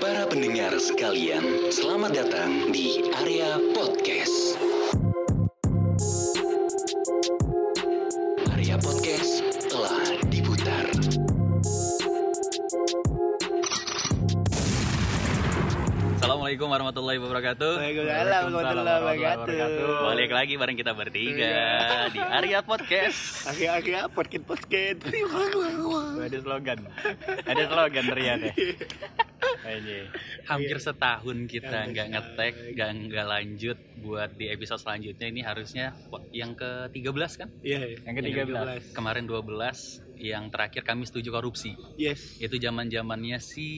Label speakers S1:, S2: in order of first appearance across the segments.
S1: Para pendengar sekalian, selamat datang di area podcast. Area podcast telah diputar.
S2: Assalamualaikum warahmatullahi wabarakatuh.
S3: Waalaikumsalam warahmatullahi wabarakatuh. Iya.
S2: Balik lagi bareng kita bertiga di Arya Podcast.
S3: Akhir-akhir podcast podcast.
S4: ada slogan ada slogan ternyata Aja.
S2: Hampir
S3: Iya.
S2: setahun kita nggak ngetek, nggak nggak lanjut buat di episode selanjutnya ini harusnya po- yang ke-13 kan?
S3: Iya,
S4: yang ketiga belas
S2: Kemarin 12, yang terakhir kami setuju korupsi.
S3: yes.
S2: Itu zaman-zamannya si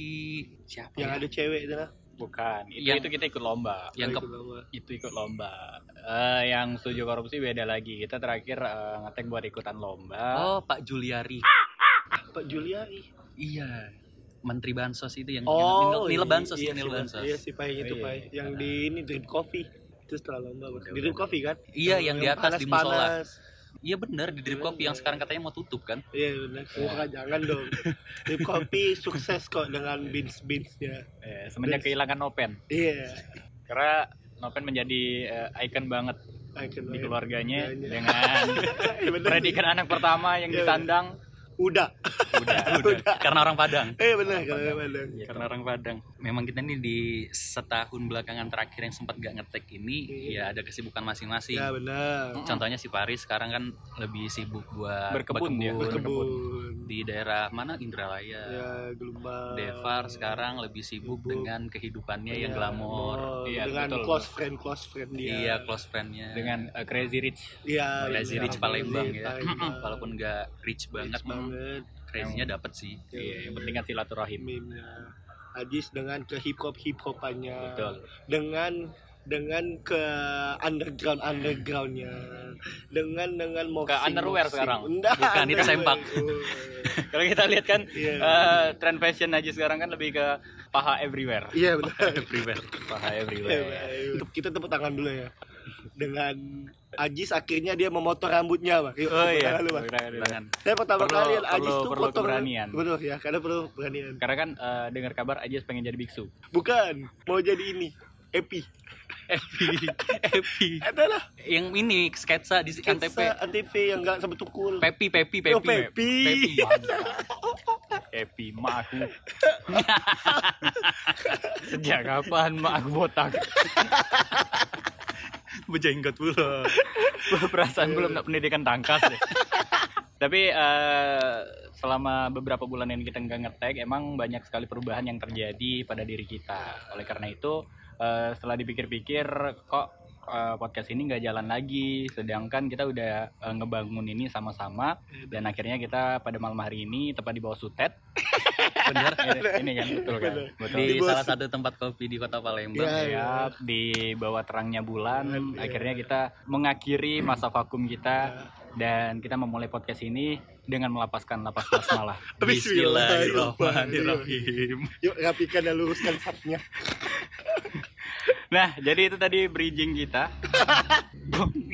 S2: siapa?
S3: Yang
S2: ya?
S3: ada cewek itu lah.
S4: bukan itu
S2: Yang-
S4: itu kita ikut lomba
S2: yang ke
S4: itu ikut lomba Eh, yang setuju korupsi beda lagi kita terakhir eh, ngetek buat ikutan lomba
S2: Oh, Pak Juliari.
S3: Pak Juliari.
S2: Iya. Menteri Bansos itu yang, yang
S3: iya,
S2: nilai Bansos,
S3: iya,
S2: nilai
S3: sih,
S2: Bansos.
S3: Iya sih, Pak itu,
S4: Oh, iya,
S3: Pak.
S4: iya.
S3: Yang di ini drip coffee. Itu setelah lomba, Pak. Di
S2: Udah,
S3: drip
S2: udah.
S3: coffee kan?
S2: Iya, yang di atas di musola.
S3: panas-panas.
S2: Iya bener di Drip Kopi yang sekarang katanya mau tutup kan?
S3: Iya, benar. Wah, jangan dong. Drip coffee sukses kok dengan beans-beansnya.
S4: Eh, semenjak kehilangan nopen
S3: Iya.
S4: karena nopen menjadi eh, icon banget
S3: Icon
S4: di
S3: banget.
S4: keluarganya
S3: Keluarganya.
S4: dengan
S3: Iya, bener sih.
S2: kan?
S4: predikat anak pertama yang
S3: Iya,
S4: disandang
S3: Udah.
S4: udah
S3: Udah.
S2: Karena orang Padang.
S3: Eh, benar kalau benar.
S2: Karena orang Padang. Memang kita nih di setahun belakangan terakhir yang sempat gak ngetek ini,
S3: Iya.
S2: ya ada kesibukan masing-masing.
S3: Ya, benar.
S2: Contohnya si Paris sekarang kan lebih sibuk buat
S4: Berkebun dia,
S3: Berkebun.
S2: di daerah mana Indralaya.
S3: ya gelombang
S2: Devar sekarang lebih sibuk
S3: Sibuk.
S2: dengan kehidupannya yang
S3: Ya,
S2: glamor.
S3: glamor.
S4: Iya,
S3: dengan
S4: betul.
S3: close friend close friend dia
S2: Iya, close friendnya.
S4: dengan eh, crazy rich
S3: iya
S2: Crazy
S3: iya,
S2: Rich Palembang ya.
S3: Palembang.
S2: Walaupun gak rich banget,
S3: Rich banget
S2: crazy-nya dapet sih.
S4: Iya, yang penting kan silaturahim
S3: meme-nya Adis dengan ke hip hop hip hopannya
S4: betul
S3: dengan dengan ke underground undergroundnya dengan dengan mau
S4: underwear sekarang?
S2: Bukan, itu sempak.
S4: Kalau kita lihat kan
S3: Oh, Iya.
S2: Ah.
S4: eh, tren fashion aja sekarang kan lebih ke paha everywhere.
S3: iya benar
S2: Everywhere.
S4: Paha
S3: Iya,
S4: everywhere.
S3: benar. kita tepuk tangan dulu ya dengan Ajis akhirnya dia memotong rambutnya pak Yuk,
S4: Oh
S3: tepuk
S4: iya.
S3: tangan dulu, Pak.
S4: Tangan.
S3: Saya pertama
S4: Perlu-
S3: kali lihat
S4: perlu-
S3: Ajis tuh
S4: perlu
S3: kotor
S4: keberanian.
S3: Betul ya, karena perlu keberanian.
S4: Karena kan eh, dengar kabar aja pengen jadi biksu.
S3: Bukan, mau jadi ini. Epi.
S2: Happy. Happy.
S3: Adalah
S2: Yang ini sketsa di
S3: KTP.
S2: KTP.
S3: Antv yang enggak sampai tukul.
S2: Pepi, Pepi, Pepi.
S3: Oh, Pepi.
S4: Happy mak aku. Sejak kapan mak aku botak?
S2: Bejenggot pula.
S4: Perasaan belum nak pendidikan tangkas deh. Tapi eh, selama beberapa bulan yang kita nggak ngetek, emang banyak sekali perubahan yang terjadi pada diri kita. Oleh karena itu, eh, setelah dipikir-pikir, kok eh, podcast ini nggak jalan lagi. Sedangkan kita udah eh, ngebangun ini sama-sama, dan akhirnya kita pada malam hari ini tepat di bawah Sutet. Bener, ini kan betul kan?
S3: Bener.
S4: Betul.
S2: Di
S3: Di bos.
S2: salah satu tempat kopi di Kota Palembang.
S3: Iya.
S4: Siap, di bawah terangnya bulan,
S3: Bulan, iya.
S4: akhirnya kita mengakhiri masa vakum kita
S3: Ya.
S4: dan kita memulai podcast ini dengan melapaskan lapas basmalah.
S2: Bismillahirrahmanirrahim.
S3: Yuk rapikan dan luruskan sapnya.
S4: Nah, jadi itu tadi bridging kita.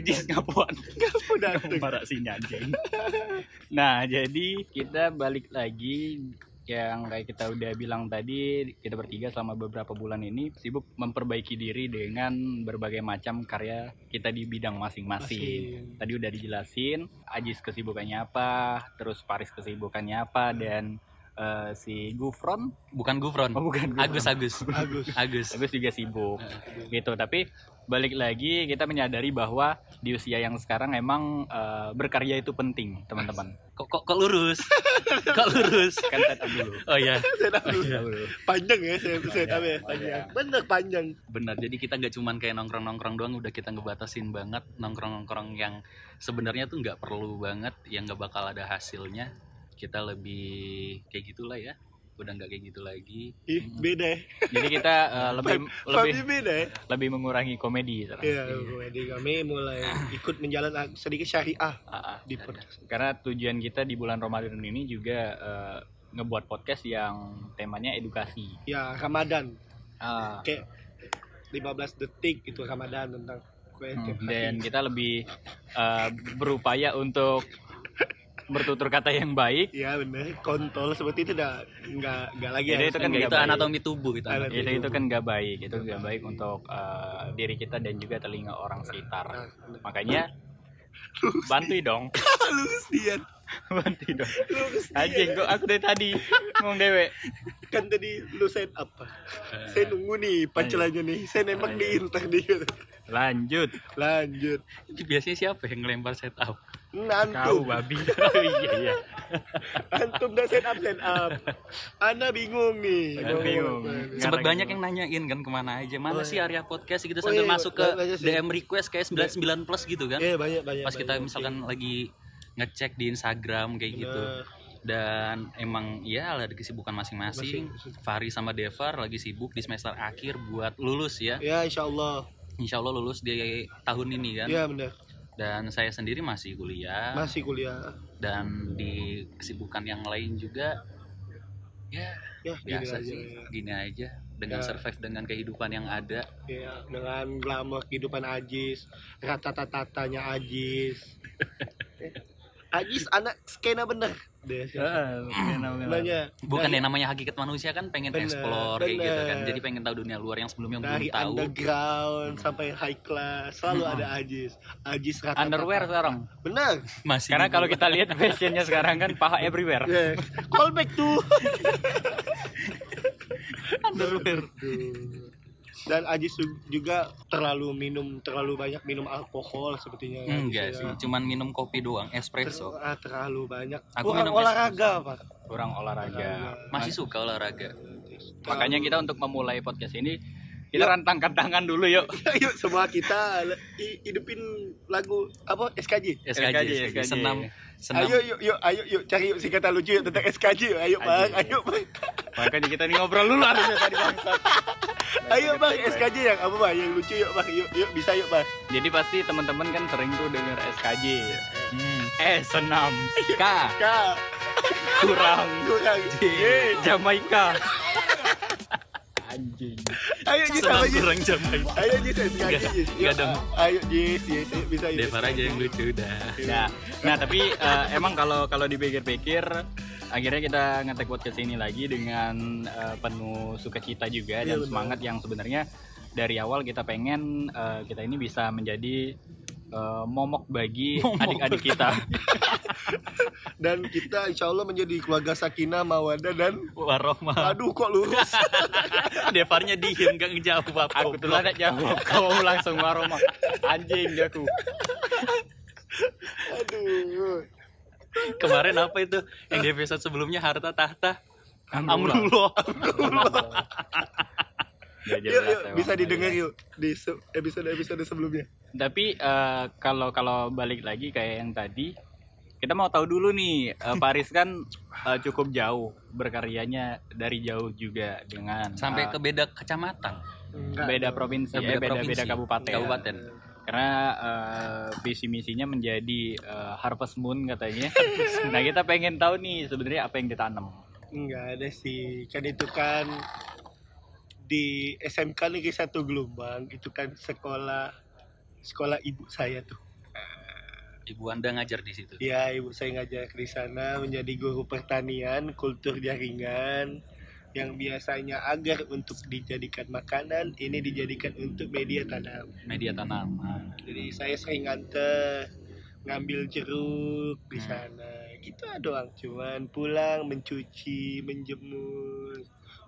S4: Jis ngapuan.
S3: Udah tuh.
S4: Marah sih anjing. Nah, jadi kita balik lagi yang kayak kita udah bilang tadi kita bertiga selama beberapa bulan ini sibuk memperbaiki diri dengan berbagai macam karya kita di bidang masing-masing. tadi udah dijelasin Ajis kesibukannya apa terus Paris kesibukannya apa dan eh, si Gufron
S2: Bukan Gufron.
S4: oh bukan
S2: Hmm.
S4: Gufron.
S2: Agus, Agus.
S3: Bagus.
S2: Agus.
S4: Agus juga sibuk gitu tapi balik lagi kita menyadari bahwa di usia yang sekarang emang eh, berkarya itu penting teman-teman
S2: Kok, kok, kok lurus? Kok lurus?
S4: kan set up dulu
S2: Oh iya,
S3: Saya tahu. Panjang ya, saya saya tahu ya, panjang.
S4: Panjang, panjang.
S3: Bener panjang.
S2: benar. Jadi kita nggak cuman kayak nongkrong-nongkrong doang, udah kita ngebatasin banget nongkrong-nongkrong yang sebenarnya tuh nggak perlu banget, yang nggak bakal ada hasilnya. Kita lebih kayak gitulah ya. Udah nggak kayak gitu lagi.
S3: Ih, beda ya.
S4: jadi kita eh, lebih lebih Ah,
S3: Family beda ya.
S4: lebih mengurangi komedi gitu kan. sekarang.
S3: Iya, jadi kami mulai ikut menjalankan sedikit syariah
S4: Ah, ah.
S3: di podcast.
S4: karena tujuan kita di bulan Ramadan ini juga eh, ngebuat podcast yang temanya edukasi
S3: Ya, Ramadan.
S4: Ah.
S3: kayak 15 detik itu Ramadan tentang kue tiap hari.
S4: Hmm, dan kita lebih uh, berupaya untuk eh, bertutur kata yang baik
S3: Iya benar, kontol seperti itu udah nggak nggak lagi.
S4: Jadi
S3: harus.
S4: itu
S2: Enggak,
S4: kan nggak
S2: itu
S4: baik.
S2: gitu anatomi tubuh itu.
S3: Anatomi.
S4: itu itu kan nggak baik itu nggak baik untuk eh, diri kita dan juga telinga orang sekitar makanya bantui dong
S3: Halus dia.
S4: bantui dong
S3: gitu.
S4: anjing kok aku dari tadi ngomong dewe
S3: Kan tadi lu set apa?
S2: Eh,
S3: Saya nunggu nih pancelannya nih. Saya
S4: Ah,
S3: nembak di
S4: iya.
S3: inter nih.
S4: lanjut
S3: Lanjut.
S2: itu biasanya siapa yang ngelempar set up?
S3: Nah,
S4: kau
S3: Antum,
S4: babi oh, iya iya
S3: antum dah set up set up. Anda bingung nih.
S4: Anda bingung. Ngarang
S2: Sempat banyak
S4: gitu.
S2: yang nanyain kan kemana aja, mana
S3: Oh,
S2: sih
S3: iya.
S2: area podcast gitu
S3: Oh,
S2: sambil
S3: iya,
S2: masuk ke
S3: banyak sih.
S2: DM request kayak 99 plus gitu kan.
S3: Iya banyak banyak.
S2: Pas kita
S3: banyak.
S2: misalkan lagi ngecek di Instagram kayak gitu.
S3: Bener.
S2: Dan emang ya ada kesibukan masing-masing. Fahri sama Devar lagi sibuk di semester akhir buat lulus ya.
S3: Ya insya Allah.
S2: Insya Allah lulus di tahun ini kan. Ah.
S3: Iya benar.
S2: Dan saya sendiri masih kuliah.
S3: Masih kuliah.
S2: dan di kesibukan yang lain juga ya
S3: Ya gini
S2: biasa
S3: aja.
S2: sih
S3: ya.
S2: gini aja dengan
S3: Ya.
S2: survive dengan kehidupan yang ada
S3: Iya, dengan glamor kehidupan Ajis, rata-tatanya Ajis. Ajis anak skena bener. Deh.
S4: Ya, Ah,
S3: Namanya
S2: Ah, bukan
S3: dari-
S2: yang namanya hakikat manusia kan pengen
S3: Bener,
S2: explore kayak gitu kan
S3: bener.
S2: jadi pengen tahu dunia luar yang sebelumnya belum
S3: dari
S2: tahu
S3: underground sampai high class selalu
S2: Hmm.
S3: ada Ajis. Ajis rata
S4: underwear sekarang
S3: Benar.
S2: masih
S4: karena
S2: di-
S4: kalau kita lihat fashionnya sekarang kan paha everywhere
S3: Yeah. Call back tuh.
S2: underwear
S3: Dan Ajis ju- juga terlalu minum terlalu banyak minum alkohol sepertinya. Ajis,
S2: enggak
S3: ya.
S2: sih cuman minum kopi doang
S3: Ter-
S2: espresso
S3: ah, terlalu banyak.
S2: Aku
S3: Kurang
S2: minum
S3: olahraga, Pak.
S4: kurang olahraga
S2: masih suka olahraga
S4: makanya
S3: Nah,
S4: kita untuk memulai podcast ini kita rantangkan tangan dulu yuk
S2: gitu.
S3: Yuk semua kita le- i- hidupin lagu apa SKJ.
S2: SKJ,
S4: SKJ,
S2: SKJ, senam senam
S3: Ayo yuk yuk ayo yuk cari yuk singkatan lucu yuk tentang SKJ yuk. Ayo Bang, ayo Bang.
S4: makanya kita nih ngobrol dulu harusnya tadi bangsat
S3: Ayo Bang SKJ yang apa Bang yang lucu yuk Bang. Yuk yuk bisa yuk Bang.
S4: Jadi pasti teman-teman kan sering tuh denger SKJ.
S2: Hmm.
S4: Eh, senam. K
S3: Kak,
S4: kurang.
S3: kurang.
S4: J Jamaika. Anjing.
S3: Ayo Jis
S2: senam
S3: sama Jis.
S2: kurang jaman
S3: Ayo Jis SKJ Jis. Yuk,
S2: Nggak dong.
S3: Ayo Jis Jis yuk, bisa yuk.
S2: Devar aja yang lucu udah
S4: Nah, nah tapi eh, emang kalau kalau dipikir-pikir akhirnya kita ngetek podcast ini lagi dengan eh, penuh sukacita juga
S3: Iya, benar.
S4: dan semangat yang sebenarnya dari awal kita pengen eh, kita ini bisa menjadi eh, momok bagi adik-adik kita.
S3: Dan kita insya Allah menjadi keluarga Sakinah, Mawadah dan
S2: warohmah
S3: Aduh kok lurus
S2: Devarnya diem gak ngejawab
S4: Aku tuh ada jawab kamu langsung waroma. Anjing dia aku.
S3: Aduh
S2: Kemarin apa itu yang di episode sebelumnya harta tahta
S4: Amrul.
S2: Amrullah.
S3: Yuk yuk Iya, bisa didengar yuk Di se- episode-episode sebelumnya
S4: Tapi eh, kalau kalau balik lagi kayak yang tadi, kita mau tahu dulu nih, eh, Paris kan eh, cukup jauh berkaryanya dari jauh juga dengan
S2: Sampai
S4: eh,
S2: ke beda kecamatan,
S4: beda provinsi,
S2: Beda
S4: eh, Iya, beda
S2: provinsi.
S4: beda kabupaten.
S2: kabupaten.
S4: Karena eh, visi misinya menjadi eh, Harvest Moon katanya. nah kita pengen tahu nih sebenarnya apa yang ditanam.
S3: Enggak ada sih, kan itu kan di SMK Negeri Satu Gelombang itu kan sekolah sekolah ibu saya tuh.
S2: Ibu Anda ngajar di situ.
S3: Ya ibu saya ngajar di sana menjadi guru pertanian kultur jaringan yang biasanya agar untuk dijadikan makanan ini dijadikan untuk media tanam.
S2: Media tanaman.
S3: Jadi saya sering nganter ngambil jeruk di
S2: Hmm.
S3: sana. Gitu doang cuman pulang mencuci, menjemur.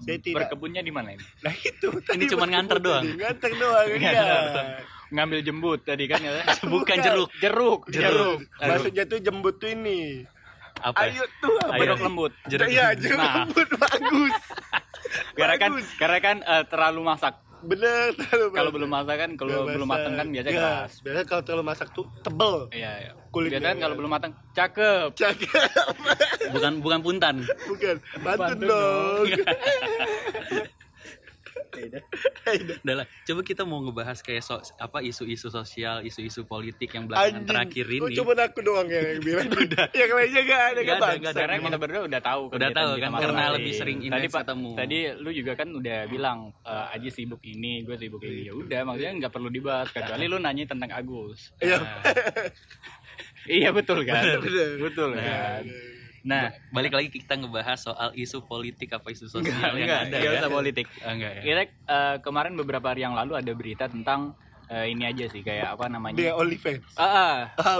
S3: Saya tidak
S4: Berkebunnya di mana ini?
S3: Nah itu tadi
S2: cuman
S3: betul
S2: nganter
S3: tadi,
S2: doang.
S3: Nganter doang iya.
S4: Nganter doang. Ngambil jembut tadi kan ya.
S2: Bukan jeruk,
S4: Jeruk,
S2: Jeruk.
S3: Maksudnya tuh jembut tuh ini.
S2: apa?
S3: Ayo tuh apa?
S4: Jeruk lembut.
S2: jeruk.
S3: Iya, jeruk
S4: Nah.
S3: lembut bagus.
S4: Karena kan
S3: Bagus.
S4: karena kan eh, terlalu masak.
S3: Bener terlalu
S4: Kalau
S3: bagus.
S4: belum masak kan kalau
S3: Nggak
S4: belum
S3: masak.
S4: matang kan biasanya
S3: Nggak,
S4: keras.
S3: Biasanya kalau terlalu masak tuh tebel.
S4: Iya, iya.
S3: iya. Kulit
S4: biasanya kan
S3: merah.
S4: kalau belum matang cakep.
S3: Cakep
S2: Bukan bukan puntan.
S3: bukan. Bantun
S4: Bantun
S3: dong.
S2: Udah lah, coba kita mau ngebahas kayak so- apa isu-isu sosial, isu-isu politik yang belakangan
S3: Anjing,
S2: terakhir
S3: Oh,
S2: ini.
S3: cuma aku doang yang yang bilang. yang lainnya gak
S2: Nggak
S3: ada gak
S2: ada,
S3: bangsa.
S2: nggak ada.
S4: Karena
S2: Emang-
S4: kita berdua udah tahu
S2: Udah
S4: kegiatan
S2: tahu
S4: kita
S2: kan,
S4: masing-masing.
S2: karena lebih sering
S4: tadi,
S2: intens
S4: Pak,
S2: ketemu.
S4: Tadi lu juga kan udah bilang e, Aji sibuk ini, gue sibuk ini. Ya udah, maksudnya nggak perlu dibahas kecuali lu nanya tentang Agus.
S3: Iya.
S4: iya betul kan?
S3: Bener.
S4: betul
S2: Bener.
S4: kan?
S2: Nah, balik lagi kita ngebahas soal isu politik apa isu sosial
S4: Enggak,
S2: yang
S4: enggak,
S2: Iya, ada
S4: enggak
S2: ya.
S4: usah politik.
S2: Ah,
S3: Iya.
S2: enggak ya.
S4: Kita eh, kemarin beberapa hari yang lalu ada berita tentang eh, ini aja sih kayak apa
S3: Dia
S4: namanya?
S3: OnlyFans.
S4: Ah, ah,
S3: Ah,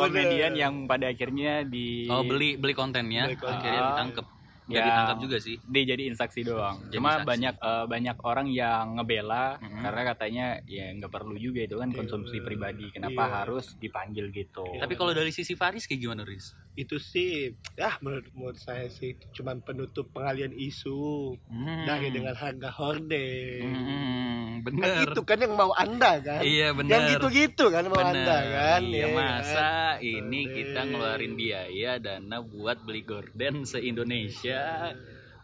S3: bener.
S4: komedian yang pada akhirnya di
S2: Oh, beli beli kontennya.
S3: Iya. Beli konten.
S2: Akhirnya ditangkep. Nggak
S4: Ya.
S2: ditangkap juga sih.
S4: dijadiin saksi doang.
S2: Jadi
S4: Cuma
S2: saksi.
S4: banyak eh, banyak orang yang ngebela karena katanya ya nggak perlu juga itu kan konsumsi
S3: Iya.
S4: pribadi. Kenapa
S3: Iya.
S4: harus dipanggil gitu?
S2: Tapi kalau dari sisi Faris kayak gimana, Riz?
S3: Itu sih, ah menurut, menurut saya sih itu cuman penutup pengalian isu dari dengan harga horden.
S2: Hmm,
S3: Kan
S2: bener.
S3: itu kan yang mau Anda kan?
S2: Iya, bener.
S3: Yang gitu-gitu kan mau
S2: Bener.
S3: Anda kan?
S2: Iya,
S3: kan?
S2: masa ini
S3: Boleh.
S2: kita ngeluarin biaya dana buat beli gorden se-Indonesia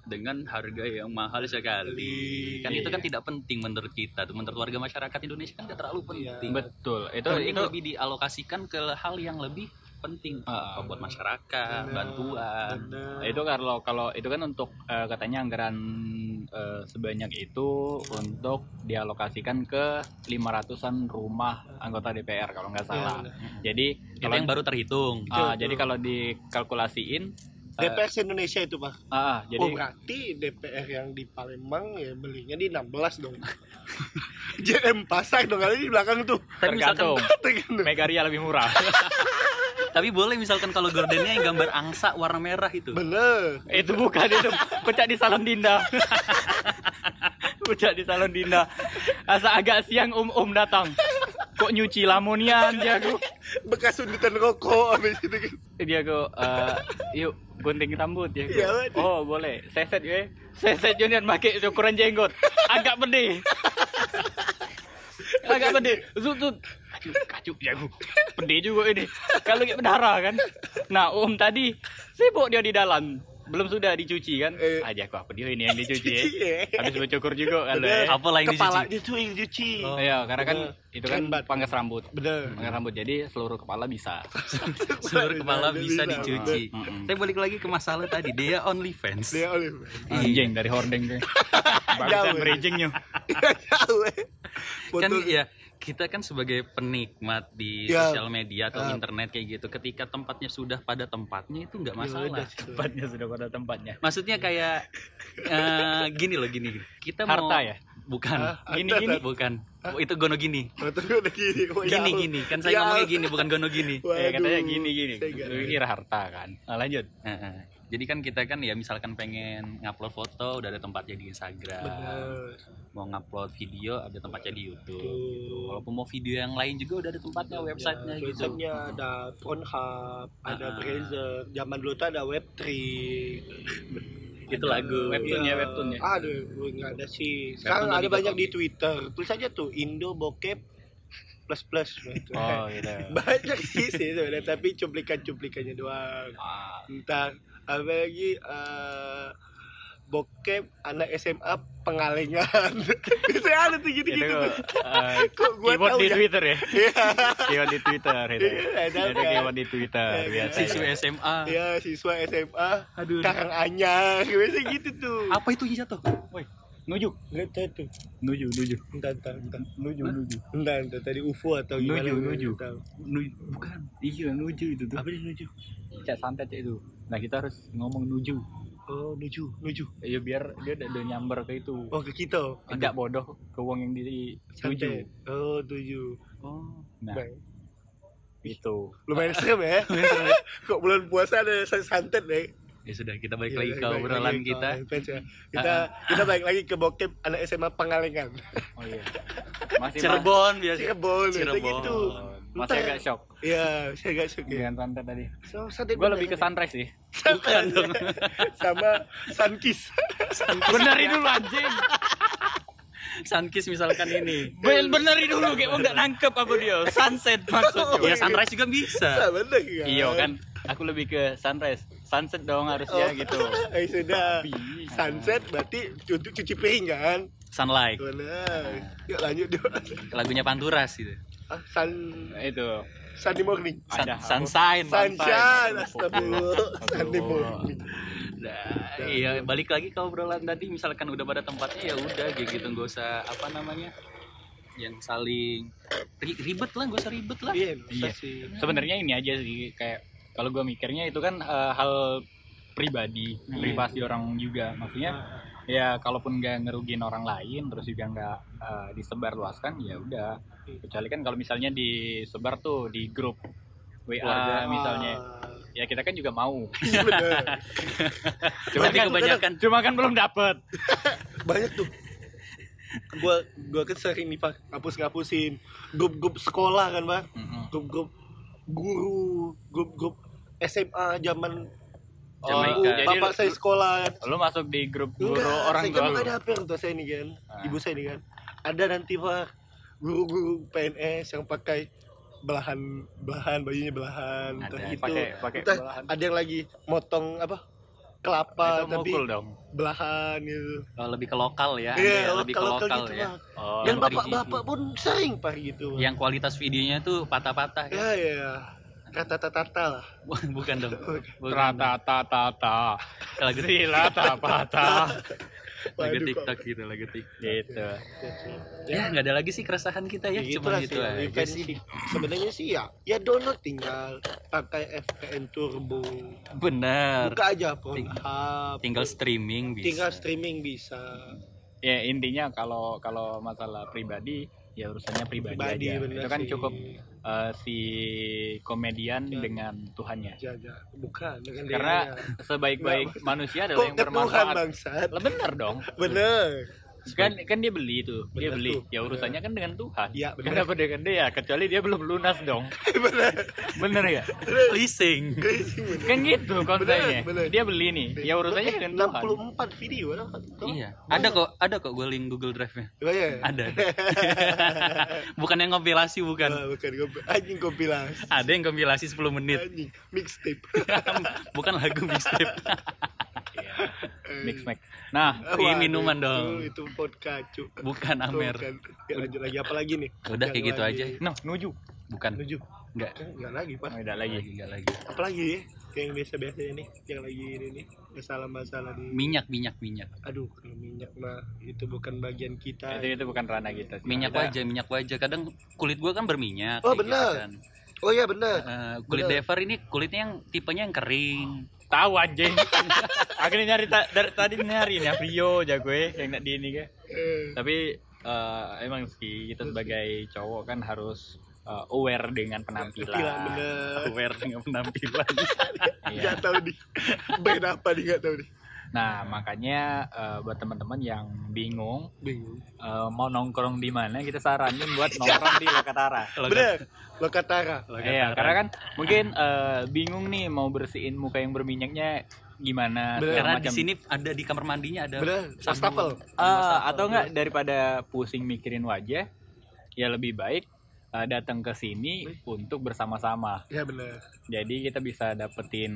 S2: dengan harga yang mahal sekali. Kan itu kan tidak penting menurut kita, tuh. menurut warga masyarakat Indonesia kan tidak terlalu
S3: Iya.
S4: Iya.
S2: penting.
S4: Betul. Itu
S2: Itu,
S4: itu
S2: lebih dialokasikan ke hal yang lebih penting
S4: Ah,
S2: buat masyarakat,
S3: Bener,
S2: bantuan.
S3: bener.
S4: Nah, itu kalau kalau itu kan untuk eh, katanya anggaran eh, sebanyak itu untuk dialokasikan ke 500-an rumah anggota DPR kalau nggak salah.
S3: Iya,
S4: Jadi
S2: Itu
S4: kalau
S2: yang baru terhitung.
S4: ah,
S3: Betul.
S4: jadi kalau dikalkulasiin eh,
S3: DPR Indonesia itu pak.
S4: ah, ah, jadi
S3: oh berarti DPR yang di Palembang ya belinya di 16 dong. JM pasar dong kali di belakang tuh.
S2: Tapi misalkan-
S4: tergantung
S3: Tergantung.
S4: Megaria lebih murah.
S2: Tapi boleh misalkan kalau gordennya yang gambar angsa warna merah itu.
S3: Bener.
S4: itu bukan itu pecah di salon dinda pecah di salon dinda asa agak siang om om datang kok nyuci lamonian dia aku
S3: Bekas sundutan rokok habis itu. kan.
S4: dia aku eh, yuk gunting rambut ya
S3: Iya, Pak.
S4: oh boleh seset gue seset Junior pakai ukuran jenggot agak pedih agak pedih zut zut Aduh, kacuk ya aku pedih juga ini kalau kayak berdarah kan nah om tadi sibuk dia di dalam belum sudah dicuci kan
S3: Eh.
S4: aja aku apa dia ini yang dicuci ya.
S3: Cuci, eh.
S4: habis bercukur juga kalau
S3: Bener.
S4: ya
S2: Apa lain dicuci?
S3: Kepalanya tuh yang dicuci.
S2: Oh.
S4: Iya, karena kan
S3: Bener.
S4: itu kan
S3: Keren banget.
S4: pangkas rambut
S3: Bener.
S4: pangkas rambut jadi seluruh kepala bisa
S2: seluruh kepala bisa dicuci.
S4: Mm-mm.
S2: Tapi balik lagi ke masalah tadi, dia only fans.
S3: Dia olive.
S4: Anjing dari hordeng gue.
S3: Jauh,
S4: Barusan
S3: ya.
S4: bridging yuk.
S3: Jauh. eh.
S2: Kan
S3: Foto-
S2: ya kita kan sebagai penikmat di
S3: Ya.
S2: sosial media atau
S3: Ya.
S2: internet kayak gitu, ketika tempatnya sudah pada tempatnya itu nggak
S3: Ya udah
S2: masalah.
S3: sih.
S4: Tempatnya sudah pada tempatnya.
S2: Maksudnya kayak eh, gini loh gini. gini. Kita mau
S4: Harta ya?
S2: Bukan.
S3: Ah,
S4: Gini,
S3: ada,
S4: gini.
S3: ada.
S2: Bukan. Itu gono gini.
S3: Foto gue udah gini. Oh, ya
S2: Gini
S3: Allah.
S2: gini. Kan saya
S3: Ya
S2: ngomongnya
S3: Allah.
S2: gini, bukan gono gini.
S4: Eh katanya gini gini.
S3: saya nggak
S4: Lu kira harta kan. Nah, lanjut.
S2: Heeh. Jadi kan kita kan ya misalkan pengen ngupload foto udah ada tempatnya di Instagram.
S3: Bener.
S2: Mau ngupload video ada tempatnya di YouTube.
S3: Betul.
S2: gitu. Walaupun mau video yang lain juga udah ada tempatnya websitenya
S3: Ya,
S2: gitu.
S3: websitenya ada Pornhub, ada
S2: Ah.
S3: Brazzer. Zaman dulu tuh ada Web3.
S2: Itu lagu.
S4: Webtoon ya, webtoon ya.
S3: Iya. Aduh, enggak ada sih. Sekarang
S2: Webtoon
S3: ada
S2: juga
S3: banyak di
S2: komik.
S3: Twitter. Tulis aja tuh Indo Bokep plus plus.
S4: Oh gitu.
S3: banyak sih sebenarnya tapi cuplikan-cuplikannya doang.
S4: Ah,
S3: Entar apa lagi eh, bokep anak SMA pengalengan. Bisa ada tuh
S4: itu
S2: Iya,
S3: gitu-gitu. tuh.
S4: eh,
S3: Kok gua
S4: keyword
S3: tahu
S4: di
S3: ya?
S4: Twitter ya.
S3: Iya.
S4: Keyword di Twitter itu.
S3: Iya, ada
S4: Itu
S3: kan?
S4: keyword di Twitter
S3: Iya,
S4: biasa.
S2: Siswa
S4: ya.
S2: SMA.
S3: Iya, siswa SMA
S2: Aduh.
S3: karang anyar biasa gitu tuh.
S2: Apa itu yang jatuh?
S4: Woi, nuju.
S3: Lihat tuh.
S4: Nuju, nuju.
S3: Entar, entar, entar.
S4: Nuju, nuju.
S3: Entar, entar. tadi UFO atau gimana?
S4: Nuju,
S3: gua
S4: nuju.
S3: nggak tahu.
S4: Nuju bukan. Iya, nuju itu tuh.
S3: Apa dia nuju?
S4: Cak santet Cak, itu. Nah, kita harus ngomong nuju.
S3: Oh, nuju, nuju.
S4: Ya biar dia udah udah nyamber ke itu.
S3: Oh, ke kita.
S4: Agak bodoh ke wong yang di
S3: Santai.
S4: nuju.
S3: Oh, tuju.
S2: Oh.
S4: Nah, gitu.
S3: Baik.
S4: itu.
S3: Lumayan serem ya. Kok bulan puasa ada san- santet deh.
S2: Ya sudah kita balik
S3: Iya,
S2: lagi ke
S3: balik
S2: obrolan
S3: lagi ke
S2: kita.
S3: offense ya. Kita kita balik lagi ke bokep anak SMA Pangalengan.
S4: Oh iya. Masih
S2: Cirebon biasa.
S3: Cirebon, biasa
S2: Cirebon.
S3: gitu.
S4: Masih
S3: Entah.
S4: agak shock
S3: Iya, saya agak suka.
S4: dengan santet Iya, tadi.
S3: So, santet
S4: Gue
S3: bener.
S4: lebih ke sunrise sih.
S2: Iya. Bukan dong.
S3: sama Sankis.
S4: Benerin dulu anjing.
S2: Sunkis misalkan ini.
S4: Ben benerin dulu kayak enggak nangkep apa dia. Sunset maksudnya.
S3: Iya,
S2: Ya sunrise juga bisa.
S3: Sama bener kan?
S4: Iya kan. Aku lebih ke sunrise. Sunset dong harusnya gitu.
S3: Oh. Eh sudah.
S4: Tapi-
S3: Sunset berarti untuk cuci piring kan?
S2: Sunlight.
S3: Bener. Yuk lanjut yuk.
S2: Lagunya Panturas gitu.
S3: Ah, Sun
S4: Nah, itu
S3: Sunny morning.
S2: Sun,
S4: Ada apa?
S2: sunshine.
S3: Sunshine. Astagfirullah. Sunny morning.
S2: Nah, iya balik lagi ke obrolan tadi misalkan udah pada tempatnya ya udah kayak gitu nggak usah apa namanya yang saling ri- ribet lah nggak usah ribet lah
S3: Iya, bisa
S4: Iya.
S3: sih.
S4: sebenarnya ini aja sih kayak kalau gue mikirnya itu kan eh, hal pribadi
S2: Iya.
S3: Hmm.
S4: privasi orang juga maksudnya ya kalaupun nggak ngerugiin orang lain terus juga nggak eh, disebar luaskan ya udah kecuali kan kalau misalnya disebar tuh di grup WA
S2: Keluarga.
S4: Ah, misalnya ya kita kan juga mau
S3: Ah. Iya, bener.
S2: Cuma
S4: kan-
S2: kebanyakan
S4: cuma kan belum dapet
S3: banyak tuh gua gua kan sering nih pak ngapus ngapusin grup grup sekolah kan pak grup grup guru grup grup SMA zaman
S2: Zaman
S3: Oh,
S2: Ika.
S3: bapak saya sekolah kan.
S4: lu masuk di grup guru
S3: Enggak,
S4: orang
S3: saya
S4: tua
S3: kan
S4: lu
S3: ada apa orang tua saya nih kan
S4: Ah.
S3: ibu saya nih kan ada nanti pak guru-guru PNS yang pakai belahan belahan bajunya belahan
S2: Ada,
S3: entah itu
S4: pakai pakai
S3: entah
S4: belahan.
S3: ada yang lagi motong apa
S4: Itu
S3: kelapa tapi
S4: mukul dong
S3: belahan gitu
S2: Oh, lebih ke lokal ya Anda
S3: Iya,
S2: ya, lebih ke
S3: lokal-lokal
S2: lokal
S3: gitu,
S2: ya
S3: Pak.
S4: oh,
S3: dan
S2: yang
S4: lu-
S3: bapak-bapak pun sering pak gitu Pak.
S2: yang kualitas videonya tuh patah-patah ya
S3: ya ya kata-tata lah
S2: bukan dong bukan
S4: Rata ta ta ta
S2: dong. lagu
S4: Sila ta pa, ta
S2: lagu
S3: Waduh,
S2: TikTok gitu lagu TikTok
S4: Gitu
S2: ya nggak ada lagi sih keresahan kita ya,
S3: Ya, gitu
S2: cuma
S3: lah
S2: gitu
S3: sih,
S2: aja
S3: event
S2: sih
S3: sih. sebenarnya sih ya ya download tinggal pakai FPN Turbo
S2: benar
S3: buka aja Pornhub
S2: tinggal streaming bisa
S3: tinggal streaming bisa
S4: Ya intinya kalau kalau masalah pribadi ya urusannya pribadi,
S3: pribadi
S4: aja.
S3: bener
S4: Itu kan
S3: sih.
S4: cukup eh, si komedian
S3: Ya.
S4: dengan Tuhannya.
S3: jaga bukan iya. dengan
S4: Karena
S3: dirinya.
S4: sebaik-baik manusia
S3: iya. kok
S4: adalah yang
S3: ke Tuhan
S4: bermanfaat.
S3: bangsat
S4: Lah bener dong.
S3: bener
S4: Kan kan dia beli tuh,
S3: Bener
S4: dia beli.
S3: tuh.
S4: Ya urusannya kan dengan Tuhan.
S3: Iya, bener.
S4: Kenapa dengan dia? Kecuali dia belum lunas dong.
S3: bener
S4: Bener ya?
S2: leasing
S4: Kan gitu konsepnya.
S3: bener.
S4: Dia beli nih. Ya urusannya dengan Tuhan.
S3: 64 video lah Oh,
S2: iya ada kok ada kok gue link Google Drive nya
S3: Banyak.
S2: ada bukan yang kompilasi
S4: kan?
S2: bukan
S3: Ah, bukan kompi- anjing kompilasi
S2: ada yang kompilasi 10 menit
S3: anjing mixtape
S2: bukan lagu mixtape
S4: Iya, Mix mix. Nah,
S2: Ini
S3: Ah, Waduh,
S2: minuman
S3: itu-
S2: dong.
S3: Itu vodka, cu.
S2: bukan Amer
S3: Bukan. Ya, lanjut lagi apa lagi nih?
S2: udah kayak
S3: Yang
S2: gitu
S3: lagi.
S2: aja
S4: nah nuju.
S2: bukan
S3: Menuju.
S2: enggak
S3: Eh, Enggak lagi, Pak.
S4: Oh, tidak lagi.
S2: lagi enggak lagi
S3: Apa lagi ya? Kayak yang biasa-biasa ini, yang lagi ini nih. Masalah-masalah di
S2: minyak minyak minyak
S3: Aduh, kalau minyak mah itu bukan bagian kita.
S4: Itu itu bukan ranah kita sih.
S2: minyak
S4: Kita-
S2: wajah minyak wajah kadang kulit gua kan berminyak
S3: Oh,
S2: kayak gitu
S3: benar.
S2: kan.
S3: Oh iya benar.
S2: Eh, kulit
S3: Benar.
S2: Dever ini kulitnya yang tipenya yang kering
S4: tahu anjing akhirnya nyari ta- dari tadi nyari nih Rio jago ya yang nak di ini ke.
S3: Eh,
S4: tapi eh, emang sih kita sebagai cowok kan harus eh, aware dengan
S3: Gila
S4: penampilan
S3: bener.
S4: aware dengan penampilan Iya.
S3: Enggak tahu nih. Band apa nih enggak tahu nih.
S4: nah makanya eh, buat teman-teman yang bingung
S3: Bingung.
S4: eh, mau nongkrong di mana kita saranin buat nongkrong di Lokatara
S3: Bener. Lokatara.
S4: Iya, karena kan mungkin eh, bingung nih mau bersihin muka yang berminyaknya gimana
S3: Bener.
S4: segala
S2: karena di
S4: macam.
S2: sini ada di kamar mandinya ada
S3: Bener.
S2: sabun.
S3: Wastafel.
S4: Ah, atau enggak daripada pusing mikirin wajah, ya lebih baik eh, datang ke sini untuk bersama-sama.
S3: Ya bener.
S4: Jadi kita bisa dapetin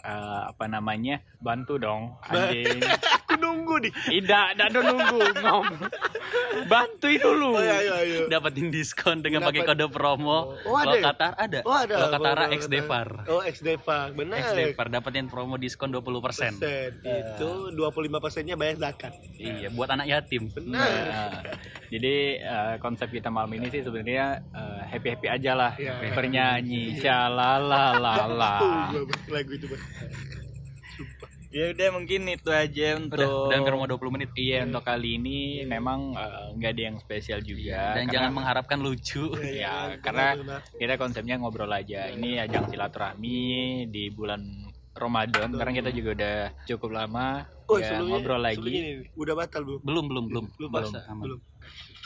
S4: eh, apa namanya? Bantu dong, anjing.
S3: Aku nunggu nih.
S4: Tidak, tidak ada nunggu, ngom. Bantuin
S3: Oh
S4: dulu.
S3: iya iya iya.
S2: dapatin diskon dengan pakai
S3: Dapat-
S2: kode promo
S3: Oh, ada ya?
S2: Lokatar ada
S3: Oh ada.
S2: Lokatara
S3: Lokatara.
S2: X Devar
S3: Oh X Devar. Bener.
S2: X Devar dapetin promo diskon 20%
S3: persen ya. itu 25 persennya bayar zakat
S2: iya buat anak yatim
S3: benar
S4: Nah, jadi eh, konsep kita malam ini sih sebenarnya happy happy aja lah,
S3: Iya.
S4: bernyanyi, shalalalalala.
S3: Tuh, gua lagu itu Bang.
S4: Ya udah mungkin itu aja untuk
S2: udah udah hampir mau 20 menit
S4: Iya untuk kali ini memang eh, nggak ada yang spesial juga.
S2: dan
S4: karena-
S2: jangan mengharapkan lucu
S3: Ya,
S4: Iya,
S3: ya,
S4: karena
S3: benar,
S4: kita konsepnya ngobrol aja. Ini ajang silaturahmi di bulan Ramadan. Sekarang kita juga udah cukup lama
S3: benar. oh,
S4: ya,
S3: sebelumnya,
S4: ngobrol
S3: sebelumnya
S4: lagi.
S3: ini, nih, udah batal belum
S2: belum belum belum
S3: belum
S2: puasa
S3: batal,
S2: aman
S3: belum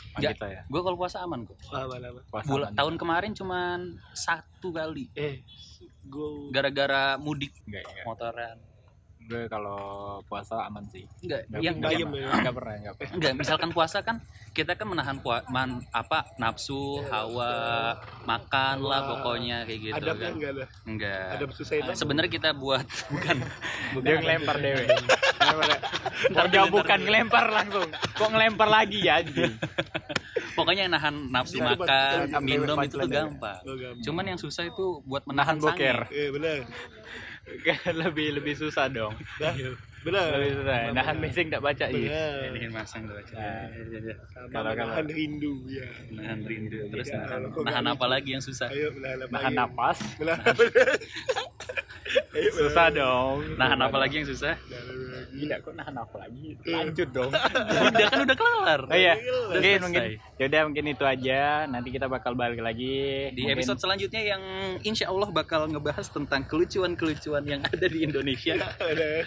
S4: Oh,
S2: Ya.
S4: gitu ya.
S2: gue kalau puasa aman kok
S3: lama lama
S4: Puasa
S2: Bula-
S4: aman.
S2: tahun kemarin cuman satu kali
S3: eh gue
S2: gara-gara mudik
S4: Nggak, nggak.
S2: motoran
S4: Gue kalau puasa aman sih.
S2: enggak
S4: Nggak
S2: yang
S4: pernah-
S3: bayem ya.
S4: nggak pernah nggak pernah.
S2: enggak misalkan puasa kan kita kan menahan pua- man- apa nafsu, hawa, makan lah
S3: Wah.
S2: pokoknya kayak gitu
S3: adabnya
S2: kan.
S3: enggak ada
S2: Enggak.
S3: adab susah itu
S2: Sebenarnya kita buat bukan
S4: Dia ngelempar dewe. Ngelempar
S3: ya?
S4: dewe. Mau jawab bukan ngelempar langsung. Kok ngelempar lagi ya anjing?
S2: pokoknya yang nahan nafsu
S3: Itu Iya, buat-
S2: makan,
S3: itu-
S2: minum
S4: itu
S2: itu tuh
S4: punchline-nya.
S2: gampang.
S3: Oh, gampang.
S2: Cuman yang susah itu buat menahan
S4: Nahan boker.
S2: sange.
S3: eh benar
S4: lebih lebih susah dong.
S3: Nah, benar
S4: Lebih susah. Iya. Nahan bising enggak baca sih.
S2: Ya,
S3: benar
S2: bikin masang tuh aja.
S4: Nah.
S2: Ya, ya, ya.
S3: kalau
S4: Kalau- kalau- Iya.
S3: nahan rindu ya
S2: Nahan rindu terus
S3: Ya,
S2: nahan,
S3: kok
S2: nahan
S3: gak
S2: apa lagi yang susah?
S3: ayo benar apa
S4: Nahan
S3: lagi?
S4: napas.
S3: benar benar ayo benar.
S4: Susah dong.
S2: Nahan apa lagi yang susah?
S3: Benar, benar lagi.
S4: Gila kok nahan apa lagi?
S3: Iya.
S4: Lanjut dong.
S2: Udah kan udah kelar.
S4: Oh iya,
S3: Gila.
S4: mungkin
S2: Selesai.
S4: mungkin. Yaudah mungkin itu aja. Nanti kita bakal balik lagi
S2: Di
S4: Mungkin-
S2: episode selanjutnya yang insya Allah bakal ngebahas tentang kelucuan-kelucuan yang ada di Indonesia
S3: Benar.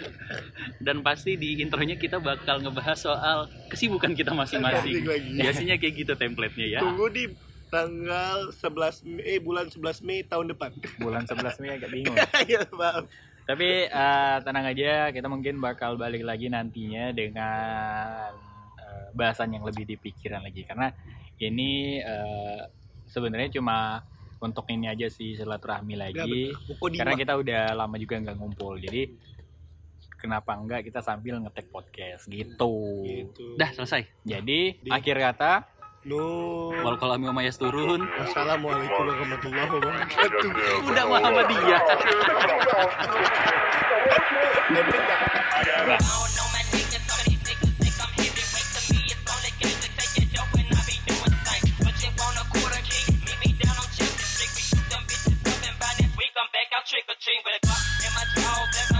S2: dan pasti di intronya kita bakal ngebahas soal kesibukan kita
S3: Asik
S2: masing-masing.
S3: lagi.
S4: Iya.
S2: Biasanya kayak gitu template-nya ya.
S3: tunggu di tanggal 11 Mei eh bulan 11 Mei tahun depan
S4: bulan 11 Mei agak bingung.
S3: ya maaf
S4: Tapi eh, tenang aja, kita mungkin bakal balik lagi nantinya dengan eh, bahasan yang lebih dipikiran lagi karena ini eh, sebenarnya cuma untuk ini aja sih silaturahmi
S3: Ya,
S4: lagi
S3: betul. Pokok
S4: karena
S3: Dima.
S4: kita udah lama juga nggak ngumpul. Jadi kenapa enggak kita sambil ngetek podcast gitu.
S3: gitu
S2: Dah selesai.
S4: Jadi
S3: Di-
S4: akhir kata
S3: Nur
S2: Wal kolami wa mayas turun.
S3: Assalamualaikum warahmatullahi wabarakatuh
S2: Udah Muhammadiyah.
S3: Epic gak?
S5: Trick or treat with a clock in my jaw, let